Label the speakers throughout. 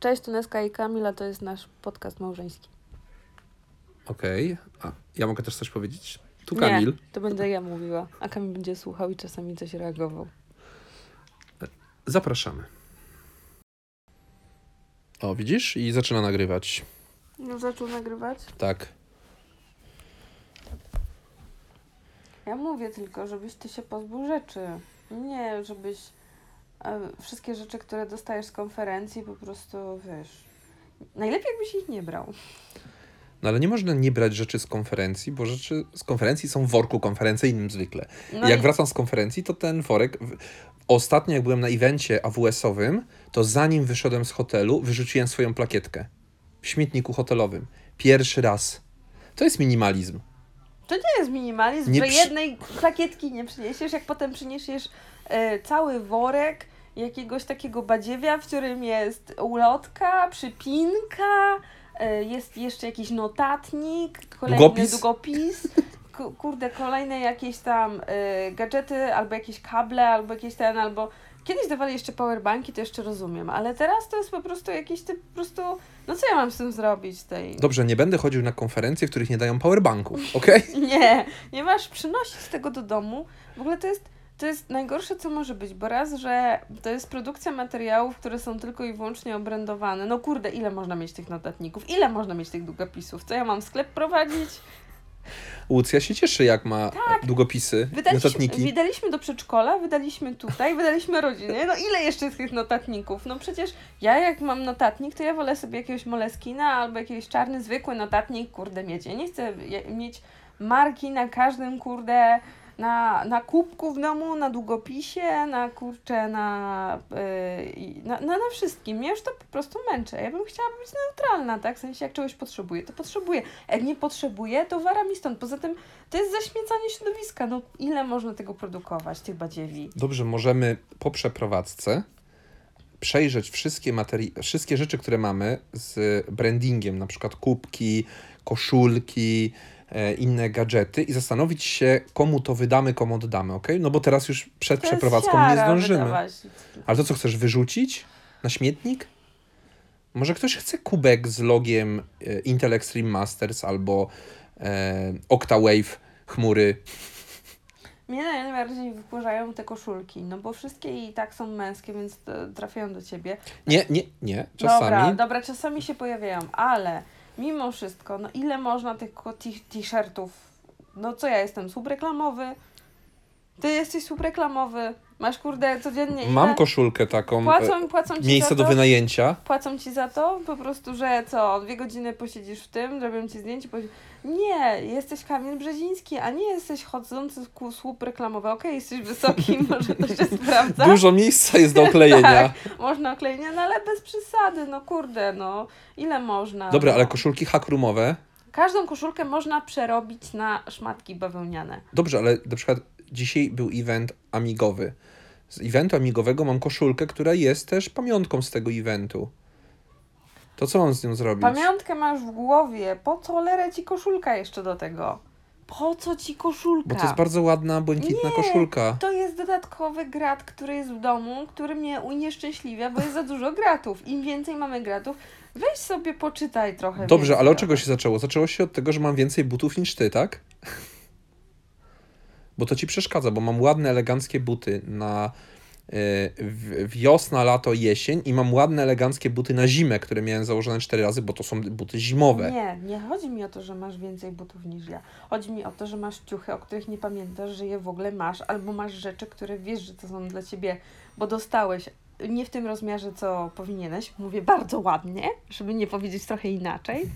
Speaker 1: Cześć, tu Neska i Kamila, to jest nasz podcast małżeński.
Speaker 2: Okej. A, ja mogę też coś powiedzieć? Tu Kamil.
Speaker 1: Nie, to będę ja mówiła, a Kamil będzie słuchał i czasami coś reagował.
Speaker 2: Zapraszamy. O, widzisz? I zaczyna nagrywać.
Speaker 1: No zaczął nagrywać?
Speaker 2: Tak.
Speaker 1: Ja mówię tylko, żebyś ty się pozbył rzeczy. Nie, żebyś e, wszystkie rzeczy, które dostajesz z konferencji po prostu, wiesz... Najlepiej jakbyś ich nie brał.
Speaker 2: No ale nie można nie brać rzeczy z konferencji, bo rzeczy z konferencji są w worku konferencyjnym zwykle.
Speaker 1: No
Speaker 2: I jak
Speaker 1: i-
Speaker 2: wracam z konferencji, to ten worek... W... Ostatnio jak byłem na evencie AWS-owym, to zanim wyszedłem z hotelu, wyrzuciłem swoją plakietkę. W śmietniku hotelowym. Pierwszy raz. To jest minimalizm.
Speaker 1: To nie jest minimalizm,
Speaker 2: Nie
Speaker 1: że
Speaker 2: przy-
Speaker 1: jednej plakietki nie przyniesiesz, jak potem przyniesiesz e, cały worek jakiegoś takiego badziewia, w którym jest ulotka, przypinka, e, jest jeszcze jakiś notatnik, kolejny długopis,
Speaker 2: Długopis?
Speaker 1: ku- kurde, kolejne jakieś tam e, gadżety, albo jakieś kable, albo jakieś ten, albo... Kiedyś dawali jeszcze powerbanki, to jeszcze rozumiem, ale teraz to jest po prostu jakiś typ, po prostu... No co ja mam z tym zrobić? Tej...
Speaker 2: Dobrze, nie będę chodził na konferencje, w których nie dają powerbanków, okej?
Speaker 1: Nie, nie masz przynosić tego do domu. W ogóle to jest, to jest najgorsze, co może być, bo raz, że to jest produkcja materiałów, które są tylko i wyłącznie obrędowane. No kurde, ile można mieć tych notatników? Ile można mieć tych długopisów? Co ja mam sklep prowadzić?
Speaker 2: Łucja się cieszy, jak ma
Speaker 1: Tak.
Speaker 2: długopisy,
Speaker 1: Wydaliśmy,
Speaker 2: notatniki.
Speaker 1: wydaliśmy do przedszkola, wydaliśmy tutaj, wydaliśmy rodzinie. No ile jeszcze jest tych notatników? No przecież ja jak mam notatnik, to ja wolę sobie jakiegoś Moleskina albo jakiś czarny, zwykły notatnik, kurde, mieć. Ja nie chcę je- mieć marki na każdym, kurde, na, na kubku w domu, na długopisie, na kurcze, na, yy, i- na, na, na wszystkim. Mnie już to po prostu męczy. Ja bym chciała być neutralna, tak? W sensie, jak czegoś potrzebuję, to potrzebuję. A Jak nie potrzebuję, to wara mi stąd. Poza tym to jest zaśmiecanie środowiska. No ile można tego produkować, tych badziewi?
Speaker 2: Dobrze, możemy po przeprowadzce przejrzeć wszystkie, materi- wszystkie rzeczy, które mamy z brandingiem, na przykład kubki, koszulki, e, inne gadżety i zastanowić się, komu to wydamy, komu oddamy, ok? No bo teraz już przed
Speaker 1: To jest
Speaker 2: przeprowadzką nie
Speaker 1: siara
Speaker 2: zdążymy.
Speaker 1: wydawać.
Speaker 2: Ale to co chcesz wyrzucić na śmietnik? Może ktoś chce kubek z logiem e, Intel Extreme Masters albo e, Octawave chmury.
Speaker 1: Mnie najbardziej wkurzają te koszulki, no bo wszystkie i tak są męskie, więc e, trafiają do ciebie.
Speaker 2: Nie, nie, nie. Czasami.
Speaker 1: Dobra, dobra, czasami się pojawiają, ale mimo wszystko, no ile można tych ko- ti- t-shirtów? No co ja jestem, słup reklamowy? Ty jesteś słup reklamowy, masz kurde codziennie ile?
Speaker 2: Mam koszulkę taką. e,
Speaker 1: płacą, płacą ci
Speaker 2: Miejsce
Speaker 1: za
Speaker 2: do
Speaker 1: to?
Speaker 2: wynajęcia.
Speaker 1: Płacą ci za to? Po prostu, że co, dwie godziny posiedzisz w tym, zrobią ci zdjęcie, posi... Nie, jesteś Kamil Brzeziński, a nie jesteś chodzący ku słup reklamowy. Okej, jesteś wysoki, może to się sprawdza. Tak,
Speaker 2: Dużo miejsca jest do oklejenia.
Speaker 1: Można oklejenia, no ale bez przesady, no kurde, no. Ile można?
Speaker 2: Dobra,
Speaker 1: no.
Speaker 2: ale koszulki hackrumowe.
Speaker 1: Każdą koszulkę można przerobić na szmatki bawełniane.
Speaker 2: Dobrze, ale na przykład dzisiaj był event amigowy. Z eventu amigowego mam koszulkę, która jest też pamiątką z tego eventu. To co mam z nią zrobić?
Speaker 1: Pamiątkę masz w głowie, po co lerę ci koszulka jeszcze do tego? Po co ci koszulka?
Speaker 2: Bo to jest bardzo ładna, błękitna
Speaker 1: Nie,
Speaker 2: koszulka.
Speaker 1: To jest dodatkowy grat, który jest w domu, który mnie unieszczęśliwia, bo jest za dużo gratów. Im więcej mamy gratów, weź sobie poczytaj trochę.
Speaker 2: Dobrze,
Speaker 1: więcej
Speaker 2: ale
Speaker 1: o
Speaker 2: od czego się zaczęło? Zaczęło się od tego, że mam więcej butów niż ty, tak? Bo to ci przeszkadza, bo mam ładne, eleganckie buty na y, w- wiosna, lato, jesień i mam ładne, eleganckie buty na zimę, które miałem założone cztery razy, bo to są buty zimowe.
Speaker 1: Nie, nie chodzi mi o to, że masz więcej butów niż ja. Chodzi mi o to, że masz ciuchy, o których nie pamiętasz, że je w ogóle masz, albo masz rzeczy, które wiesz, że to są dla ciebie, bo dostałeś nie w tym rozmiarze, co powinieneś. Mówię bardzo ładnie, żeby nie powiedzieć trochę inaczej.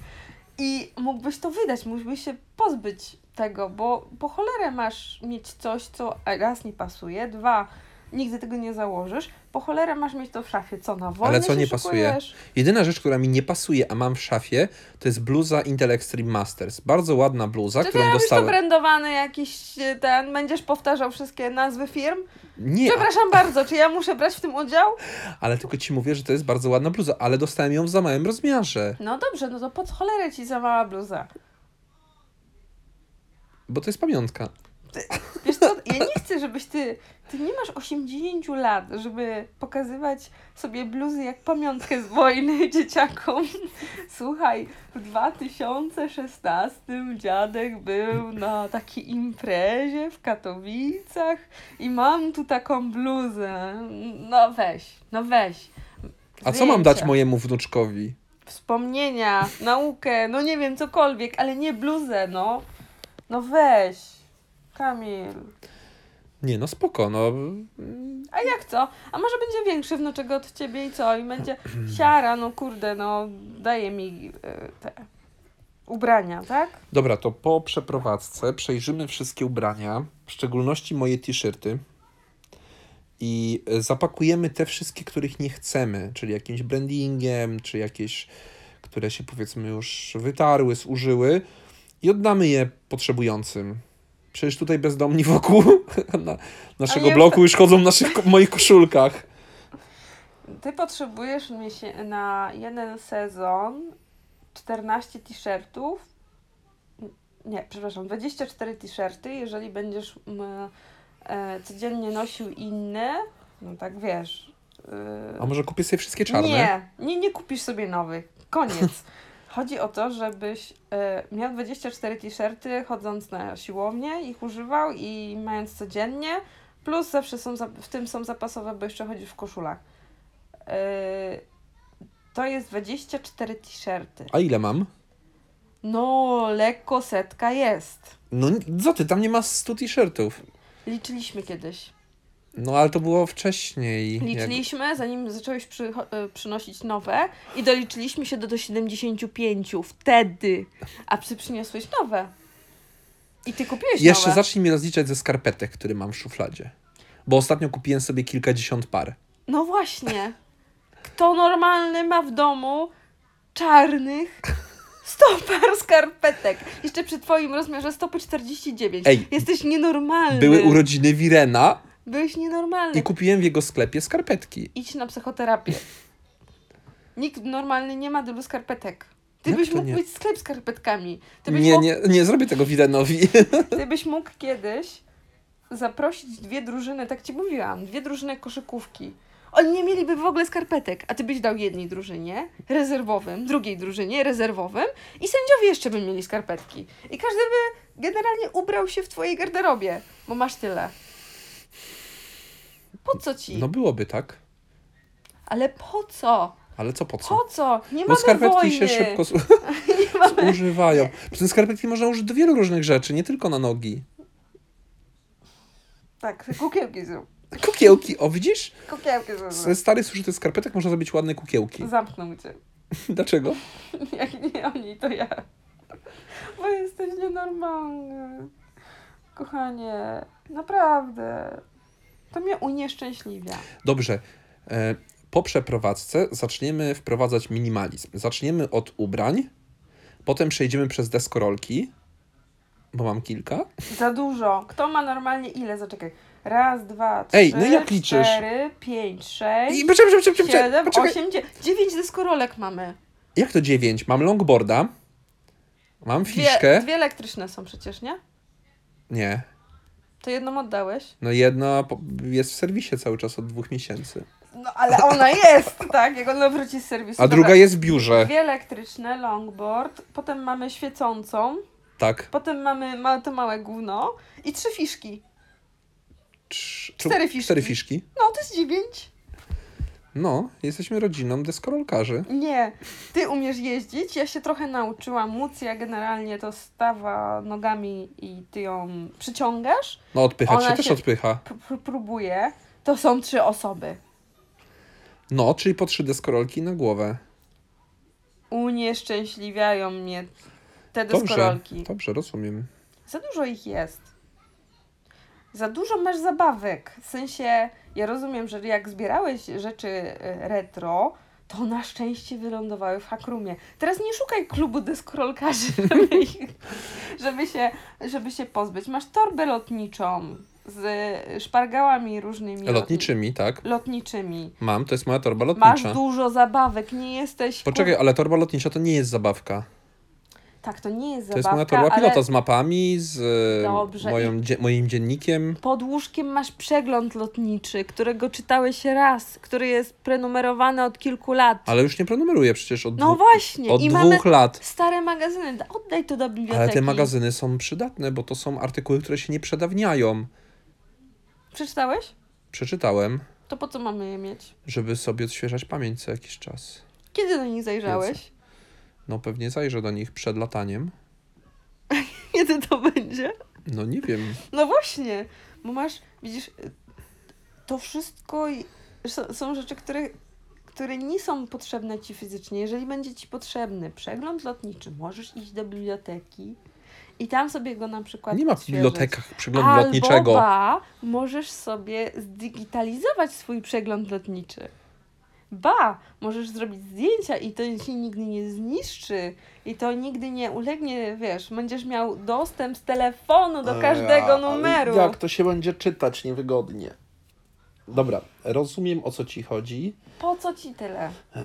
Speaker 1: I mógłbyś to wydać, mógłbyś się pozbyć tego, bo po cholerę masz mieć coś, co raz nie pasuje, dwa nigdy tego nie założysz, po cholerę masz mieć to w szafie, co na wojnę
Speaker 2: co
Speaker 1: się
Speaker 2: nie pasuje?
Speaker 1: szykujesz?
Speaker 2: Jedyna rzecz, która mi nie pasuje, a mam w szafie, to jest bluza Intel Extreme Masters. Bardzo ładna bluza,
Speaker 1: Czy ty
Speaker 2: którą
Speaker 1: robisz to
Speaker 2: dostałem.
Speaker 1: brandowany jakiś e, ten, będziesz powtarzał wszystkie nazwy firm?
Speaker 2: Nie,
Speaker 1: Przepraszam bardzo, czy ja muszę brać w tym udział?
Speaker 2: ale tylko ci mówię, że to jest bardzo ładna bluza, ale dostałem ją w za małym rozmiarze,
Speaker 1: No dobrze, no to po cholerę ci za mała bluza.
Speaker 2: bo to jest pamiątka.
Speaker 1: ty, wiesz co, ja nie chcę, żebyś ty, ty nie masz 80 lat, żeby pokazywać sobie bluzy jak pamiątkę z wojny dzieciakom. Słuchaj, w 2016 dziadek był na takiej imprezie w Katowicach i mam tu taką bluzę. No weź, no weź.
Speaker 2: A co mam dać
Speaker 1: Zdjęcia
Speaker 2: mojemu wnuczkowi?
Speaker 1: wspomnienia, naukę, no nie wiem, cokolwiek, ale nie bluzę, no. No weź, Kamil.
Speaker 2: Nie, no spoko, no.
Speaker 1: A jak co? A może będzie większy wnuczek od ciebie i co? I będzie siara, no kurde, no daje mi e, te ubrania, tak?
Speaker 2: Dobra, to po przeprowadzce przejrzymy wszystkie ubrania, w szczególności moje t-shirty. I e, zapakujemy te wszystkie, których nie chcemy, czyli jakimś brandingiem, czy jakieś, które się powiedzmy już wytarły, zużyły, i oddamy je potrzebującym. Przecież tutaj bezdomni wokół na, naszego
Speaker 1: już-
Speaker 2: bloku już chodzą w naszych, ko- moich koszulkach.
Speaker 1: Ty potrzebujesz miesię- na jeden sezon 14 t-shirtów. Nie, przepraszam, 24 t-shirty, jeżeli będziesz mm, e, codziennie nosił inne, no tak wiesz. y,
Speaker 2: A może kupię sobie wszystkie czarne?
Speaker 1: nie, nie, nie kupisz sobie nowych. Koniec. Chodzi o to, żebyś e, miał 24 t-shirty chodząc na siłownię, ich używał i mając codziennie, plus zawsze są, za- w tym są zapasowe, bo jeszcze chodzisz w koszulach. E, to jest 24 t-shirty.
Speaker 2: A ile mam?
Speaker 1: No, lekko setka jest.
Speaker 2: No n- co ty, tam nie ma 100 t-shirtów.
Speaker 1: Liczyliśmy kiedyś.
Speaker 2: No ale to było wcześniej. jak-
Speaker 1: Liczyliśmy, zanim zacząłeś przycho- e, przynosić nowe i doliczyliśmy się do, do 75 wtedy, a ty przyniosłeś nowe. I ty kupiłeś
Speaker 2: Jeszcze
Speaker 1: nowe.
Speaker 2: zacznij mi rozliczać ze skarpetek, które mam w szufladzie. Bo ostatnio kupiłem sobie kilkadziesiąt par.
Speaker 1: No właśnie. Kto normalny ma w domu czarnych 100 par skarpetek? Jeszcze przy twoim rozmiarze stopy 49.
Speaker 2: Ej,
Speaker 1: Jesteś nienormalny.
Speaker 2: Były urodziny Wirena
Speaker 1: Byłeś nienormalny.
Speaker 2: i kupiłem w jego sklepie skarpetki.
Speaker 1: Idź na psychoterapię. Nikt normalny nie ma tylu skarpetek. Ty
Speaker 2: Jak
Speaker 1: byś
Speaker 2: to
Speaker 1: mógł
Speaker 2: nie?
Speaker 1: mieć sklep z skarpetkami. Ty byś,
Speaker 2: Nie,
Speaker 1: mógł,
Speaker 2: nie, nie zrobię tego Wirenowi.
Speaker 1: ty byś mógł kiedyś zaprosić dwie drużyny, tak ci mówiłam, dwie drużyny koszykówki. Oni nie mieliby w ogóle skarpetek, a ty byś dał jednej drużynie rezerwowym, drugiej drużynie rezerwowym i sędziowie jeszcze by mieli skarpetki. I każdy by generalnie ubrał się w twojej garderobie, bo masz tyle. Po co ci?
Speaker 2: No byłoby tak.
Speaker 1: Ale po co?
Speaker 2: Ale co po co?
Speaker 1: Po co? Nie mamy
Speaker 2: Bo skarpetki
Speaker 1: wojny.
Speaker 2: się szybko zu-
Speaker 1: Nie mamy...
Speaker 2: używają. Przy tym skarpetki można użyć do wielu różnych rzeczy, nie tylko na nogi.
Speaker 1: Tak, kukiełki zrób.
Speaker 2: Kukiełki, o widzisz?
Speaker 1: Kukiełki zrób.
Speaker 2: Ze starych zużytych skarpetek można zrobić ładne kukiełki.
Speaker 1: Zamknął cię.
Speaker 2: Dlaczego?
Speaker 1: Jak nie oni, to ja. Bo jesteś nienormalny. Kochanie, naprawdę. To mnie unieszczęśliwia.
Speaker 2: Dobrze. E, Po przeprowadzce zaczniemy wprowadzać minimalizm. Zaczniemy od ubrań, potem przejdziemy przez deskorolki, bo mam kilka.
Speaker 1: Za dużo. Kto ma normalnie ile? Zaczekaj. Raz, dwa, trzy,
Speaker 2: Ej, no jak liczysz?
Speaker 1: cztery, pięć, sześć,
Speaker 2: I poczekaj, poczekaj, poczekaj,
Speaker 1: siedem,
Speaker 2: poczekaj.
Speaker 1: osiem, dziewięć. Dziewięć deskorolek mamy.
Speaker 2: Jak to dziewięć? Mam longboarda, mam
Speaker 1: Dwie,
Speaker 2: fiszkę.
Speaker 1: dwie elektryczne są przecież, nie?
Speaker 2: Nie.
Speaker 1: To jedną oddałeś.
Speaker 2: No jedna po- jest w serwisie cały czas od dwóch miesięcy.
Speaker 1: No ale ona jest, tak? Jak ona wróci z serwisu.
Speaker 2: A
Speaker 1: Dobra.
Speaker 2: druga jest w biurze.
Speaker 1: Dwie elektryczne, longboard, potem mamy świecącą,
Speaker 2: Tak.
Speaker 1: potem mamy ma, to małe gówno i trzy fiszki.
Speaker 2: Trz-
Speaker 1: Cztery fiszki.
Speaker 2: Cztery fiszki.
Speaker 1: No, to jest dziewięć.
Speaker 2: No, jesteśmy rodziną deskorolkarzy.
Speaker 1: Nie, ty umiesz jeździć, ja się trochę nauczyłam. Mucja generalnie to stawa nogami i ty ją przyciągasz,
Speaker 2: No, odpychać
Speaker 1: Ona
Speaker 2: się też
Speaker 1: się-
Speaker 2: odpycha.
Speaker 1: pr- pr- próbuje. To są trzy osoby.
Speaker 2: No, czyli po trzy deskorolki na głowę.
Speaker 1: Unieszczęśliwiają mnie te
Speaker 2: Dobrze,
Speaker 1: deskorolki.
Speaker 2: dobrze, rozumiem.
Speaker 1: Za dużo ich jest. Za dużo masz zabawek. W sensie, ja rozumiem, że jak zbierałeś rzeczy e, retro, to na szczęście wylądowały w hakrumie. Teraz nie szukaj klubu deskorolkarzy, żeby, ich, żeby, się, żeby się pozbyć. Masz torbę lotniczą z szpargałami różnymi.
Speaker 2: Lotniczymi, tak.
Speaker 1: Lotniczymi.
Speaker 2: Mam, to jest moja torba
Speaker 1: Masz
Speaker 2: lotnicza.
Speaker 1: dużo zabawek, nie jesteś. kur-
Speaker 2: Poczekaj, ale torba lotnicza to nie jest zabawka.
Speaker 1: Tak, to nie jest
Speaker 2: To jest
Speaker 1: zabawka,
Speaker 2: moja torba
Speaker 1: ale
Speaker 2: pilota z mapami, z e,
Speaker 1: Dobrze,
Speaker 2: moją, dzie- moim dziennikiem.
Speaker 1: pod łóżkiem masz przegląd lotniczy, którego czytałeś raz, który jest prenumerowany od kilku lat.
Speaker 2: Ale już nie prenumeruję przecież od,
Speaker 1: No
Speaker 2: dwu,
Speaker 1: właśnie,
Speaker 2: od
Speaker 1: i
Speaker 2: dwóch
Speaker 1: mamy
Speaker 2: lat.
Speaker 1: stare magazyny, Da- oddaj to do biblioteki.
Speaker 2: Ale te magazyny są przydatne, bo to są artykuły, które się nie przedawniają.
Speaker 1: Przeczytałeś?
Speaker 2: Przeczytałem,
Speaker 1: To po co mamy je mieć?
Speaker 2: żeby sobie odświeżać pamięć co jakiś czas.
Speaker 1: Kiedy do nich zajrzałeś?
Speaker 2: No pewnie zajrzę do nich przed lataniem.
Speaker 1: Kiedy to będzie?
Speaker 2: No nie wiem.
Speaker 1: No właśnie, bo masz, widzisz, to wszystko i- są, są rzeczy, które, które nie są potrzebne ci fizycznie. Jeżeli będzie ci potrzebny przegląd lotniczy, możesz iść do biblioteki i tam sobie go na przykład.
Speaker 2: Nie ma w
Speaker 1: odświeżyć.
Speaker 2: bibliotekach przeglądu
Speaker 1: Albo
Speaker 2: lotniczego.
Speaker 1: Ba, możesz sobie zdigitalizować swój przegląd lotniczy. Ba, możesz zrobić zdjęcia i to się nigdy nie zniszczy i to nigdy nie ulegnie, wiesz, będziesz miał dostęp z telefonu do każdego numeru.
Speaker 2: E, Jak to się będzie czytać niewygodnie? Dobra, rozumiem o co ci chodzi,
Speaker 1: Po co ci tyle?
Speaker 2: E,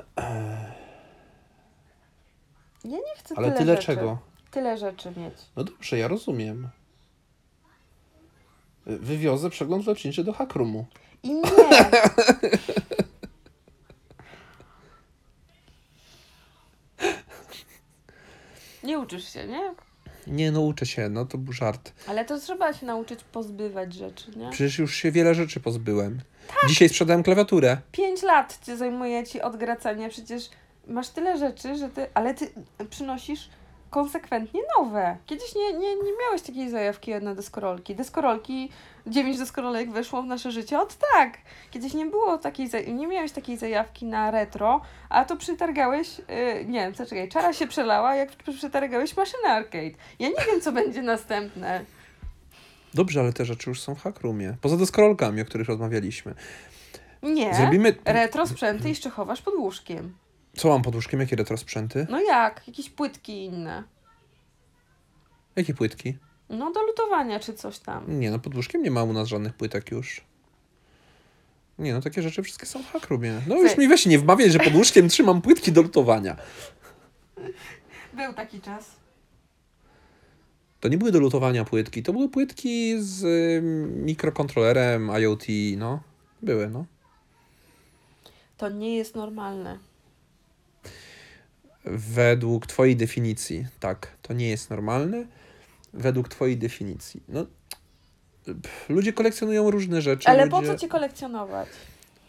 Speaker 1: Ja nie chcę
Speaker 2: ale
Speaker 1: tyle,
Speaker 2: tyle
Speaker 1: rzeczy.
Speaker 2: czego?
Speaker 1: Tyle rzeczy mieć.
Speaker 2: No dobrze, ja rozumiem. E, Wywiozę przegląd lotniczy do Hakrumu.
Speaker 1: I nie. Nie uczysz się, nie?
Speaker 2: Nie, no uczę się, no to był żart.
Speaker 1: Ale to trzeba się nauczyć pozbywać rzeczy, nie?
Speaker 2: Przecież już się wiele rzeczy pozbyłem.
Speaker 1: Tak.
Speaker 2: Dzisiaj sprzedałem klawiaturę.
Speaker 1: Pięć lat cię zajmuje ci odgracanie, przecież masz tyle rzeczy, że ty. Ale ty przynosisz konsekwentnie nowe. Kiedyś nie, nie, nie miałeś takiej zajawki na deskorolki. Deskorolki, dziewięć deskorolek weszło w nasze życie od tak. Kiedyś nie było takiej, za- nie miałeś takiej zajawki na retro, a to przytargałeś, yy, nie wiem, co czekaj, czara się przelała, jak przy- przytargałeś maszynę arcade. Ja nie wiem, co będzie następne.
Speaker 2: Dobrze, ale te rzeczy już są w Hakrumie. Poza deskorolkami, o których rozmawialiśmy.
Speaker 1: Nie.
Speaker 2: Zrobimy...
Speaker 1: Retro sprzęty jeszcze chowasz pod łóżkiem.
Speaker 2: Co mam pod łóżkiem? Jakie retrosprzęty?
Speaker 1: No jak? Jakieś płytki i inne.
Speaker 2: Jakie płytki?
Speaker 1: No do lutowania czy coś tam.
Speaker 2: Nie, no pod łóżkiem nie ma u nas żadnych płytek już. Nie, no takie rzeczy wszystkie są w Hakrumie. No już
Speaker 1: Wy-
Speaker 2: mi weź nie wmawiaj, że pod łóżkiem trzymam płytki do lutowania.
Speaker 1: Był taki czas.
Speaker 2: To nie były do lutowania płytki, to były płytki z y, mikrokontrolerem, IoT, no. Były, no.
Speaker 1: To nie jest normalne.
Speaker 2: Według Twojej definicji, tak, to nie jest normalne. Według Twojej definicji. No, pff, ludzie kolekcjonują różne rzeczy.
Speaker 1: Ale
Speaker 2: ludzie...
Speaker 1: po co ci kolekcjonować?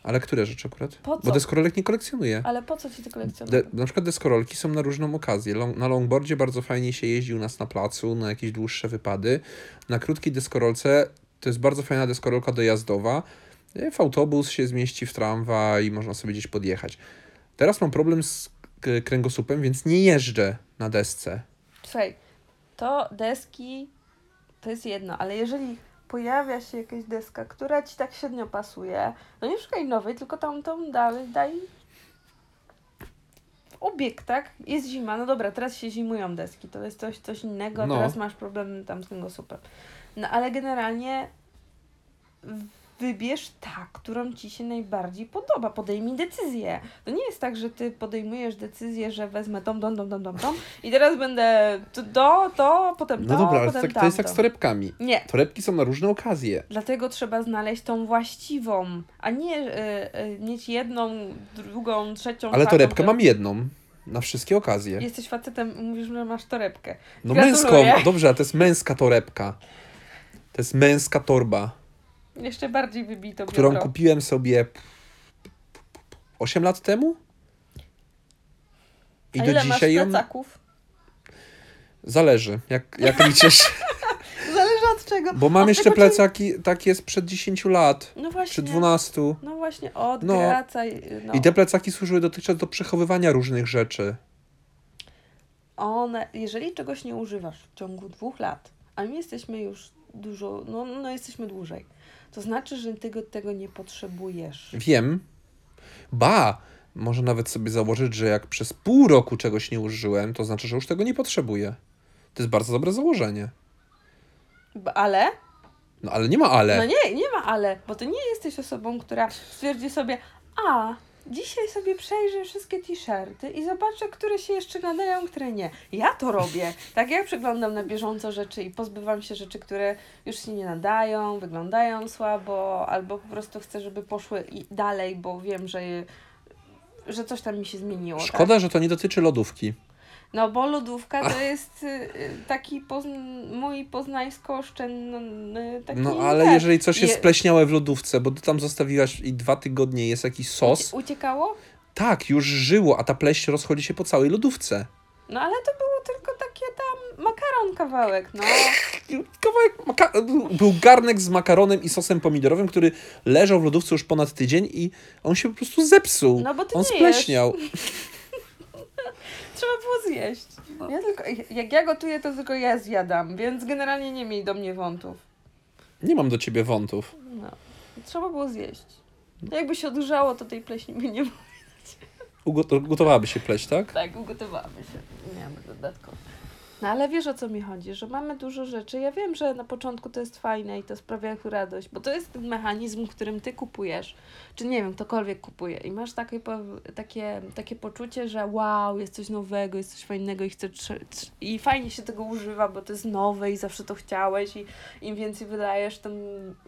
Speaker 2: Ale które rzeczy akurat?
Speaker 1: Po co?
Speaker 2: Bo deskorolek nie kolekcjonuje.
Speaker 1: Ale po co ci to kolekcjonować?
Speaker 2: De, na przykład deskorolki są na różną okazję. Long, na longboardzie bardzo fajnie się jeździ u nas na placu, na jakieś dłuższe wypady. Na krótkiej deskorolce to jest bardzo fajna deskorolka dojazdowa. E, W autobus się zmieści, w tramwaj i można sobie gdzieś podjechać. Teraz mam problem z k- kręgosłupem, więc nie jeżdżę na desce.
Speaker 1: Słuchaj, to deski to jest jedno, ale jeżeli pojawia się jakaś deska, która ci tak średnio pasuje, no nie szukaj nowej, tylko tamtą dalej daj obieg, tak? Jest zima, no dobra, teraz się zimują deski, to jest coś, coś innego,
Speaker 2: No.
Speaker 1: teraz masz problem tam z kręgosłupem. No ale generalnie wybierz ta, którą ci się najbardziej podoba. Podejmij decyzję. To nie jest tak, że ty podejmujesz decyzję, że wezmę tą, tą, tą, tą, tą, tą i teraz będę to, to, to potem to,
Speaker 2: No dobra, ale to,
Speaker 1: potem
Speaker 2: tak, to jest tak z
Speaker 1: tamto.
Speaker 2: torebkami.
Speaker 1: Nie,
Speaker 2: Torebki są na różne okazje.
Speaker 1: dlatego trzeba znaleźć tą właściwą, a nie y, y, mieć jedną, drugą, trzecią.
Speaker 2: Ale
Speaker 1: czwartą,
Speaker 2: torebkę
Speaker 1: piątą.
Speaker 2: mam jedną. Na wszystkie okazje.
Speaker 1: Jesteś facetem i mówisz, że masz torebkę.
Speaker 2: No
Speaker 1: Gratuluję.
Speaker 2: męską. Dobrze, ale to jest męska torebka. To jest męska torba.
Speaker 1: Jeszcze bardziej wybito
Speaker 2: którą
Speaker 1: biodro.
Speaker 2: kupiłem sobie 8 lat temu. I
Speaker 1: A
Speaker 2: do
Speaker 1: ile
Speaker 2: dzisiaj
Speaker 1: masz
Speaker 2: ją.
Speaker 1: plecaków?
Speaker 2: Zależy, jak, jak liczysz.
Speaker 1: Zależy od czego.
Speaker 2: Bo mam
Speaker 1: Od
Speaker 2: jeszcze
Speaker 1: tego, czy-
Speaker 2: plecaki takie sprzed 10 lat,
Speaker 1: No właśnie.
Speaker 2: czy 12.
Speaker 1: No właśnie, odwracaj. No.
Speaker 2: I te plecaki służyły dotychczas do przechowywania różnych rzeczy.
Speaker 1: One, jeżeli czegoś nie używasz w ciągu dwóch lat, a my jesteśmy już dużo, no, no jesteśmy dłużej, to znaczy, że ty go, tego nie potrzebujesz.
Speaker 2: Wiem. Ba! Może nawet sobie założyć, że jak przez pół roku czegoś nie użyłem, to znaczy, że już tego nie potrzebuję. To jest bardzo dobre założenie.
Speaker 1: B- Ale?
Speaker 2: No ale nie ma ale.
Speaker 1: No nie, nie ma ale, bo ty nie jesteś osobą, która stwierdzi sobie, a, Dzisiaj sobie przejrzę wszystkie t-shirty i zobaczę, które się jeszcze nadają, które nie. Ja to robię. Tak, ja przeglądam na bieżąco rzeczy i pozbywam się rzeczy, które już się nie nadają, wyglądają słabo, albo po prostu chcę, żeby poszły i dalej, bo wiem, że, je- że coś tam mi się zmieniło. tak?
Speaker 2: Szkoda, że to nie dotyczy lodówki.
Speaker 1: No bo lodówka to jest y, y, taki pozn- mój poznańsko-oszczędny taki...
Speaker 2: No ale
Speaker 1: wiesz,
Speaker 2: jeżeli coś jest
Speaker 1: je-
Speaker 2: spleśniałe w lodówce, bo ty tam zostawiłaś i dwa tygodnie jest jakiś sos,
Speaker 1: Uciekało?
Speaker 2: tak, już żyło, a ta pleść rozchodzi się po całej lodówce.
Speaker 1: No ale to było tylko takie tam makaron kawałek, no.
Speaker 2: Kawałek maka- był garnek z makaronem i sosem pomidorowym, który leżał w lodówce już ponad tydzień i on się po prostu zepsuł.
Speaker 1: No bo ty
Speaker 2: on
Speaker 1: nie
Speaker 2: spleśniał.
Speaker 1: Trzeba było zjeść. Ja tylko, jak ja gotuję, to tylko ja zjadam, więc generalnie nie miej do mnie wątów.
Speaker 2: Nie mam do ciebie wątów.
Speaker 1: No. Trzeba było zjeść. Jakby się odgrzało, to tej pleśni by nie było.
Speaker 2: Ugot- Ugotowałaby się pleść, tak?
Speaker 1: Tak, ugotowałaby się. Miałam dodatkowo. No ale wiesz o co mi chodzi, że mamy dużo rzeczy. Ja wiem, że na początku to jest fajne i to sprawia radość, bo to jest ten mechanizm, którym ty kupujesz, czy nie wiem, ktokolwiek kupuje i masz takie, pow- takie, takie poczucie, że wow, jest coś nowego, jest coś fajnego i chcę trze- trz- i fajnie się tego używa, bo to jest nowe i zawsze to chciałeś i im więcej wydajesz, tym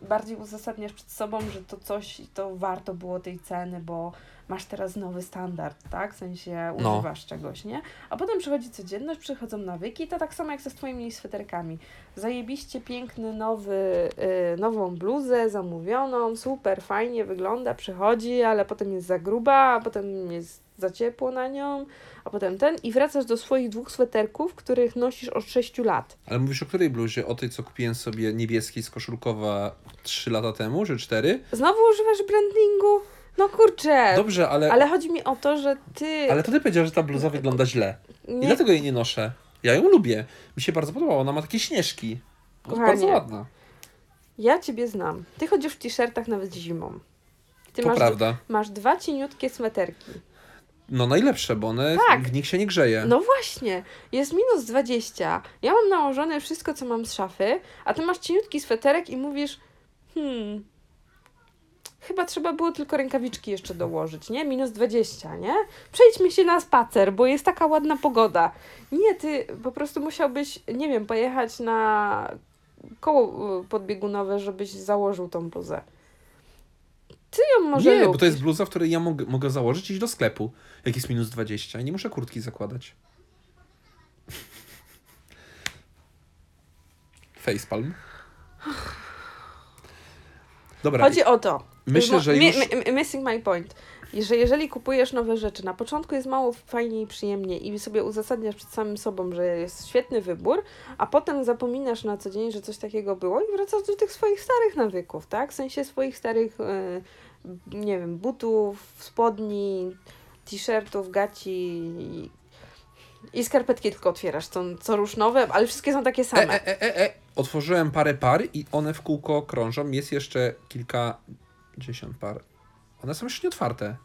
Speaker 1: bardziej uzasadniasz przed sobą, że to coś i to warto było tej ceny, bo masz teraz nowy standard, tak? W sensie
Speaker 2: No.
Speaker 1: używasz czegoś, nie? A potem przychodzi codzienność, przychodzą nawyki i to tak samo jak ze swoimi sweterkami. Zajebiście piękny, nowy, y, nową bluzę zamówioną, super, fajnie wygląda, przychodzi, ale potem jest za gruba, a potem jest za ciepło na nią, a potem ten i wracasz do swoich dwóch sweterków, których nosisz od 6 lat.
Speaker 2: Ale mówisz o której bluzie? O tej, co kupiłem sobie niebieskiej z koszulkowa 3 lata temu, czy 4?
Speaker 1: Znowu używasz brandingu? No kurczę!
Speaker 2: Dobrze, ale, ale...
Speaker 1: Ale chodzi mi o to, że ty
Speaker 2: to ty powiedziałeś, że ta bluza wygląda źle. I
Speaker 1: nie
Speaker 2: dlatego jej nie noszę. Ja ją lubię. Mi się bardzo podoba. Ona ma takie śnieżki. Jest
Speaker 1: Kochanie.
Speaker 2: bardzo ładna.
Speaker 1: Ja ciebie znam. Ty chodzisz w t-shirtach nawet zimą. Ty
Speaker 2: to
Speaker 1: masz,
Speaker 2: prawda.
Speaker 1: masz dwa cieniutkie sweterki.
Speaker 2: No najlepsze, bo one
Speaker 1: Tak.
Speaker 2: w nich się nie grzeje.
Speaker 1: No właśnie, jest minus 20. Ja mam nałożone wszystko, co mam z szafy, a ty masz cieniutki sweterek i mówisz, hmm, chyba trzeba było tylko rękawiczki jeszcze dołożyć, nie? Minus 20, nie? Przejdźmy się na spacer, bo jest taka ładna pogoda. Nie, ty po prostu musiałbyś, nie wiem, pojechać na koło y, podbiegunowe, żebyś założył tą bluzę. Ty ją może
Speaker 2: nie, bo
Speaker 1: lubisz.
Speaker 2: to jest bluza, w której ja mogę, mogę założyć i iść do sklepu, jak jest minus 20 i nie muszę kurtki zakładać. Facepalm. Dobra,
Speaker 1: Chodzi o to.
Speaker 2: myślę,
Speaker 1: Mo-
Speaker 2: że
Speaker 1: mi-
Speaker 2: już...
Speaker 1: mi- mi- missing my point. I Że jeżeli kupujesz nowe rzeczy, na początku jest mało fajnie i przyjemnie i sobie uzasadniasz przed samym sobą, że jest świetny wybór, a potem zapominasz na co dzień, że coś takiego było i wracasz do tych swoich starych nawyków, tak? W sensie swoich starych, e, nie wiem, butów, spodni, t-shirtów, gaci i, i skarpetki tylko otwierasz, co, co róż nowe, ale wszystkie są takie
Speaker 2: E,
Speaker 1: same.
Speaker 2: e, e, e, e. Otworzyłem parę par i one w kółko krążą. Jest jeszcze kilkadziesiąt par. One są jeszcze nieotwarte.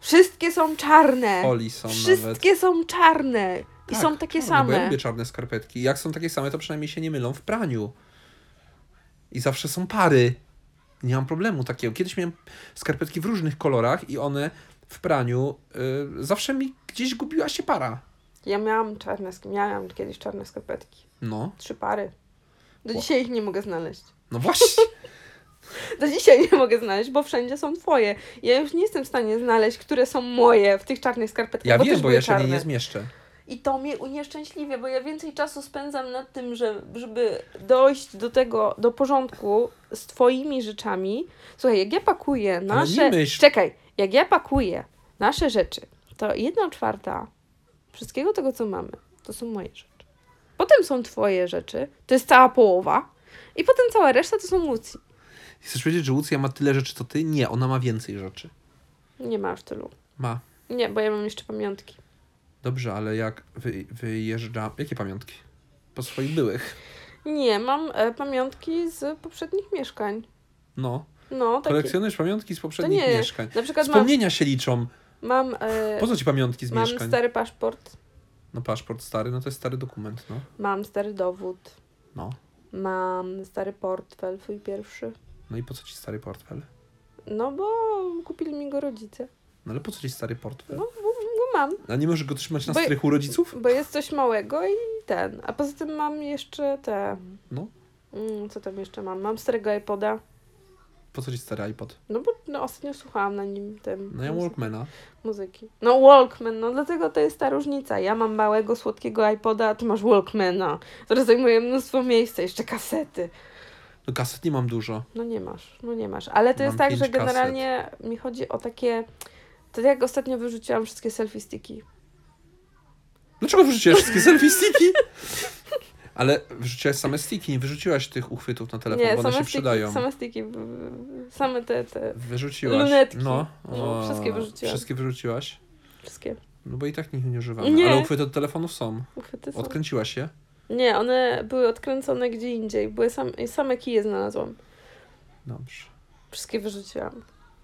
Speaker 1: Wszystkie są czarne.
Speaker 2: Oli są nawet.
Speaker 1: Wszystkie są czarne i są takie
Speaker 2: czarne, Bo ja
Speaker 1: same.
Speaker 2: Tak. lubię czarne skarpetki. Jak są takie same, to przynajmniej się nie mylą w praniu. I zawsze są pary. Nie mam problemu takiego. Kiedyś miałem skarpetki w różnych kolorach i one w praniu y, zawsze mi gdzieś gubiła się para.
Speaker 1: Ja miałam czarne, sk- miałam kiedyś czarne skarpetki.
Speaker 2: No,
Speaker 1: Trzy pary. Do
Speaker 2: Wow.
Speaker 1: dzisiaj ich nie mogę znaleźć.
Speaker 2: no właśnie.
Speaker 1: Do dzisiaj nie mogę znaleźć, bo wszędzie są twoje. Ja już nie jestem w stanie znaleźć, które są moje w tych czarnych skarpetkach.
Speaker 2: Ja
Speaker 1: bo
Speaker 2: wiem,
Speaker 1: też
Speaker 2: bo
Speaker 1: były
Speaker 2: ja się nie,
Speaker 1: czarne.
Speaker 2: nie zmieszczę.
Speaker 1: I to mnie unieszczęśliwia, bo ja więcej czasu spędzam nad tym, że, żeby dojść do tego, do porządku z twoimi rzeczami. Słuchaj, jak ja pakuję nasze...
Speaker 2: myśl.
Speaker 1: Czekaj, jak ja pakuję nasze rzeczy, to jedna czwarta wszystkiego tego, co mamy, to są moje rzeczy. Potem są twoje rzeczy, to jest cała połowa i potem cała reszta to są Lucy.
Speaker 2: Chcesz powiedzieć, że Lucja ma tyle rzeczy, co ty? Nie, ona ma więcej rzeczy.
Speaker 1: Nie ma aż tylu.
Speaker 2: Ma.
Speaker 1: Nie, bo ja mam jeszcze pamiątki.
Speaker 2: Dobrze, ale jak wy, wyjeżdża... Jakie pamiątki? Po swoich byłych.
Speaker 1: Nie, mam e, pamiątki z poprzednich mieszkań.
Speaker 2: No.
Speaker 1: No, takie.
Speaker 2: Kolekcjonujesz pamiątki z poprzednich
Speaker 1: nie,
Speaker 2: mieszkań.
Speaker 1: Na przykład mam,
Speaker 2: Wspomnienia się liczą.
Speaker 1: mam, e,
Speaker 2: Po co ci pamiątki z
Speaker 1: mam
Speaker 2: mieszkań?
Speaker 1: stary paszport,
Speaker 2: No paszport stary, no to jest stary dokument, no.
Speaker 1: mam stary dowód,
Speaker 2: No.
Speaker 1: mam stary portfel, twój pierwszy.
Speaker 2: No i po co ci stary portfel?
Speaker 1: No bo kupili mi go rodzice.
Speaker 2: No ale po co ci stary portfel?
Speaker 1: No, bo, bo mam.
Speaker 2: A nie możesz go trzymać na
Speaker 1: Bo-
Speaker 2: strychu rodziców?
Speaker 1: Bo jest coś małego i ten. A poza tym mam jeszcze te.
Speaker 2: No.
Speaker 1: Mm, co tam jeszcze mam? Mam starego iPoda.
Speaker 2: Po co ci stary iPod?
Speaker 1: No bo no, ostatnio słuchałam na nim tym
Speaker 2: No ja
Speaker 1: muzy-
Speaker 2: Walkmana.
Speaker 1: muzyki. No Walkman, no dlatego to jest ta różnica. Ja mam małego, słodkiego iPoda, a ty masz Walkmana, który zajmuje mnóstwo miejsca, jeszcze kasety.
Speaker 2: No kaset nie mam dużo.
Speaker 1: No nie masz, no nie masz. Ale to
Speaker 2: Mam
Speaker 1: jest tak,
Speaker 2: pięć
Speaker 1: że generalnie mi chodzi o takie... To jak ostatnio wyrzuciłam wszystkie selfie sticki.
Speaker 2: Dlaczego wyrzuciłaś wszystkie selfie sticki? Ale wyrzuciłaś same sticki, nie wyrzuciłaś tych uchwytów na telefon, bo one się przydają.
Speaker 1: same sticki, w- w- same te, te,
Speaker 2: Wyrzuciłaś.
Speaker 1: Lunetki.
Speaker 2: No,
Speaker 1: No, wszystkie wyrzuciłam.
Speaker 2: Wszystkie wyrzuciłaś.
Speaker 1: wszystkie
Speaker 2: No bo i tak nich nie używamy.
Speaker 1: Nie.
Speaker 2: Ale uchwyty od telefonów są.
Speaker 1: uchwyty są.
Speaker 2: Odkręciłaś je?
Speaker 1: Nie, one były odkręcone gdzie indziej, były sam, same kije znalazłam.
Speaker 2: Dobrze.
Speaker 1: Wszystkie wyrzuciłam.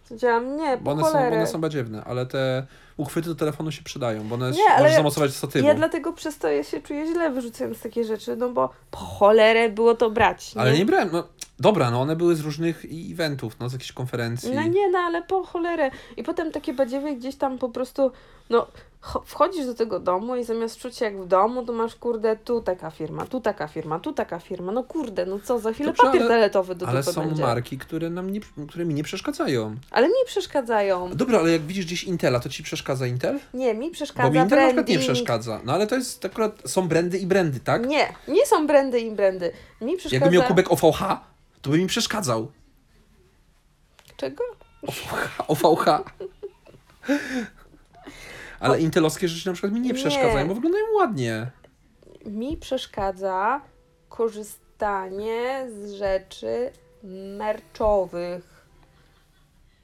Speaker 1: Powiedziałam, nie,
Speaker 2: Bo
Speaker 1: po
Speaker 2: one, są, bo
Speaker 1: cholerę.
Speaker 2: one są badziewne, ale te uchwyty do telefonu się przydają, bo one
Speaker 1: Nie,
Speaker 2: się,
Speaker 1: ale
Speaker 2: możesz
Speaker 1: ja-
Speaker 2: zamocować do statywu.
Speaker 1: Ja dlatego przez to ja się czuję źle wyrzucając takie rzeczy, no bo po cholerę było to brać. Nie?
Speaker 2: Ale nie brałem, no dobra, no one były z różnych i- eventów, no z jakichś konferencji.
Speaker 1: No nie, no ale po cholerę. I potem takie badziewie gdzieś tam po prostu, no cho- wchodzisz do tego domu i zamiast czuć się jak w domu, to masz kurde, tu taka firma, tu taka firma, tu taka firma. No kurde, no co, za chwilę
Speaker 2: Dobrze,
Speaker 1: papier
Speaker 2: ale-
Speaker 1: toaletowy do
Speaker 2: Ale
Speaker 1: dupy
Speaker 2: są
Speaker 1: będzie.
Speaker 2: marki, które, nam nie, które mi nie przeszkadzają.
Speaker 1: Ale mi przeszkadzają.
Speaker 2: Dobra, ale jak widzisz gdzieś Intela, to ci przeszkadza Intel?
Speaker 1: Nie, mi
Speaker 2: Bo
Speaker 1: przeszkadza
Speaker 2: mi Intel na przykład nie
Speaker 1: branding.
Speaker 2: przeszkadza. No ale to jest akurat, są brandy i brandy, tak?
Speaker 1: Nie, nie są brandy i brandy. Mi przeszkadza...
Speaker 2: Jakbym miał kubek OVH, to by mi przeszkadzał.
Speaker 1: Czego?
Speaker 2: OVH. Ale intelowskie rzeczy na przykład mi nie
Speaker 1: Nie.
Speaker 2: przeszkadzają, bo wyglądają ładnie.
Speaker 1: Mi przeszkadza korzystanie z rzeczy merczowych.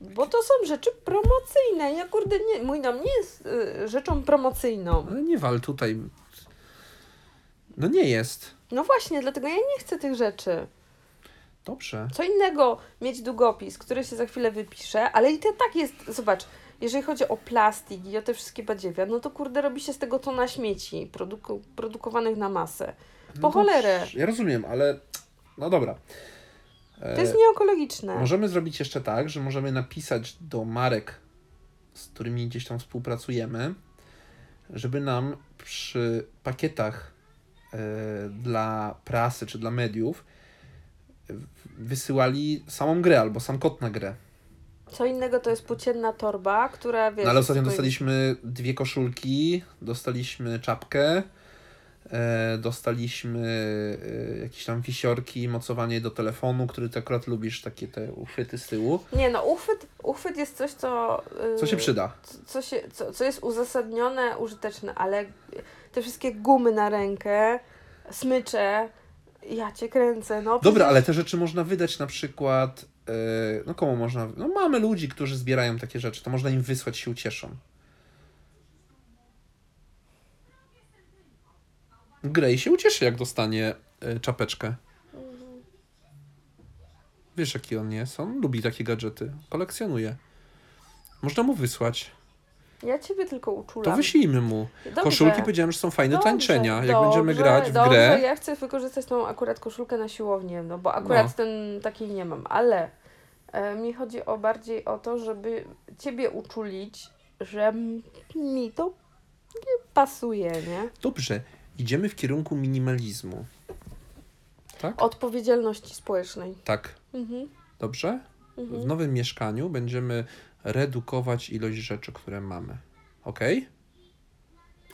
Speaker 1: Bo to są rzeczy promocyjne. Ja kurde, nie, mój dom nie jest y, rzeczą promocyjną.
Speaker 2: Ale nie wal tutaj. No nie jest.
Speaker 1: No właśnie, dlatego ja nie chcę tych rzeczy.
Speaker 2: Dobrze.
Speaker 1: Co innego mieć długopis, który się za chwilę wypisze, ale i to tak jest, zobacz, jeżeli chodzi o plastik i o te wszystkie badziewia, no to kurde robi się z tego tona śmieci produku- produkowanych na masę. Po
Speaker 2: No
Speaker 1: cholerę.
Speaker 2: dobrze, Ja rozumiem, ale no dobra. E, no
Speaker 1: To jest nieekologiczne.
Speaker 2: Możemy zrobić jeszcze tak, że możemy napisać do marek, z którymi gdzieś tam współpracujemy, żeby nam przy pakietach e, dla prasy czy dla mediów e, wysyłali samą grę albo sam kod na grę.
Speaker 1: Co innego to jest płócienna torba, która wiesz...
Speaker 2: No ale ostatnio
Speaker 1: stoi-
Speaker 2: dostaliśmy dwie koszulki, dostaliśmy czapkę, e, dostaliśmy e, jakieś tam wisiorki, mocowanie do telefonu, który ty akurat lubisz, takie te uchwyty z tyłu.
Speaker 1: Nie no, uchwyt, uchwyt jest coś, co... y,
Speaker 2: Co się przyda?
Speaker 1: Co, co, się, co, co jest uzasadnione, użyteczne, ale te wszystkie gumy na rękę, smycze, ja cię kręcę, no.
Speaker 2: Dobra,
Speaker 1: przecież-
Speaker 2: ale te rzeczy można wydać na przykład, e, no komu można, no mamy ludzi, którzy zbierają takie rzeczy, to można im wysłać, się ucieszą. Grey się ucieszy, jak dostanie e, czapeczkę. Wiesz, jaki on jest? On lubi takie gadżety. Kolekcjonuje. Można mu wysłać.
Speaker 1: Ja ciebie tylko
Speaker 2: To
Speaker 1: uczulam.
Speaker 2: wyślijmy mu.
Speaker 1: Dobrze.
Speaker 2: Koszulki powiedziałem, że są fajne
Speaker 1: Dobrze,
Speaker 2: tańczenia. Jak
Speaker 1: dobrze,
Speaker 2: będziemy grać w
Speaker 1: dobrze.
Speaker 2: grę.
Speaker 1: Ja chcę wykorzystać tą akurat koszulkę na siłownię, no bo akurat
Speaker 2: No.
Speaker 1: ten takiej nie mam, ale e, mi chodzi o bardziej o to, żeby ciebie uczulić, że m- mi to nie pasuje, nie?
Speaker 2: Dobrze, idziemy w kierunku minimalizmu. Tak?
Speaker 1: Odpowiedzialności społecznej.
Speaker 2: Tak.
Speaker 1: Mhm.
Speaker 2: Dobrze? W
Speaker 1: Mhm.
Speaker 2: nowym mieszkaniu będziemy redukować ilość rzeczy, które mamy. Ok?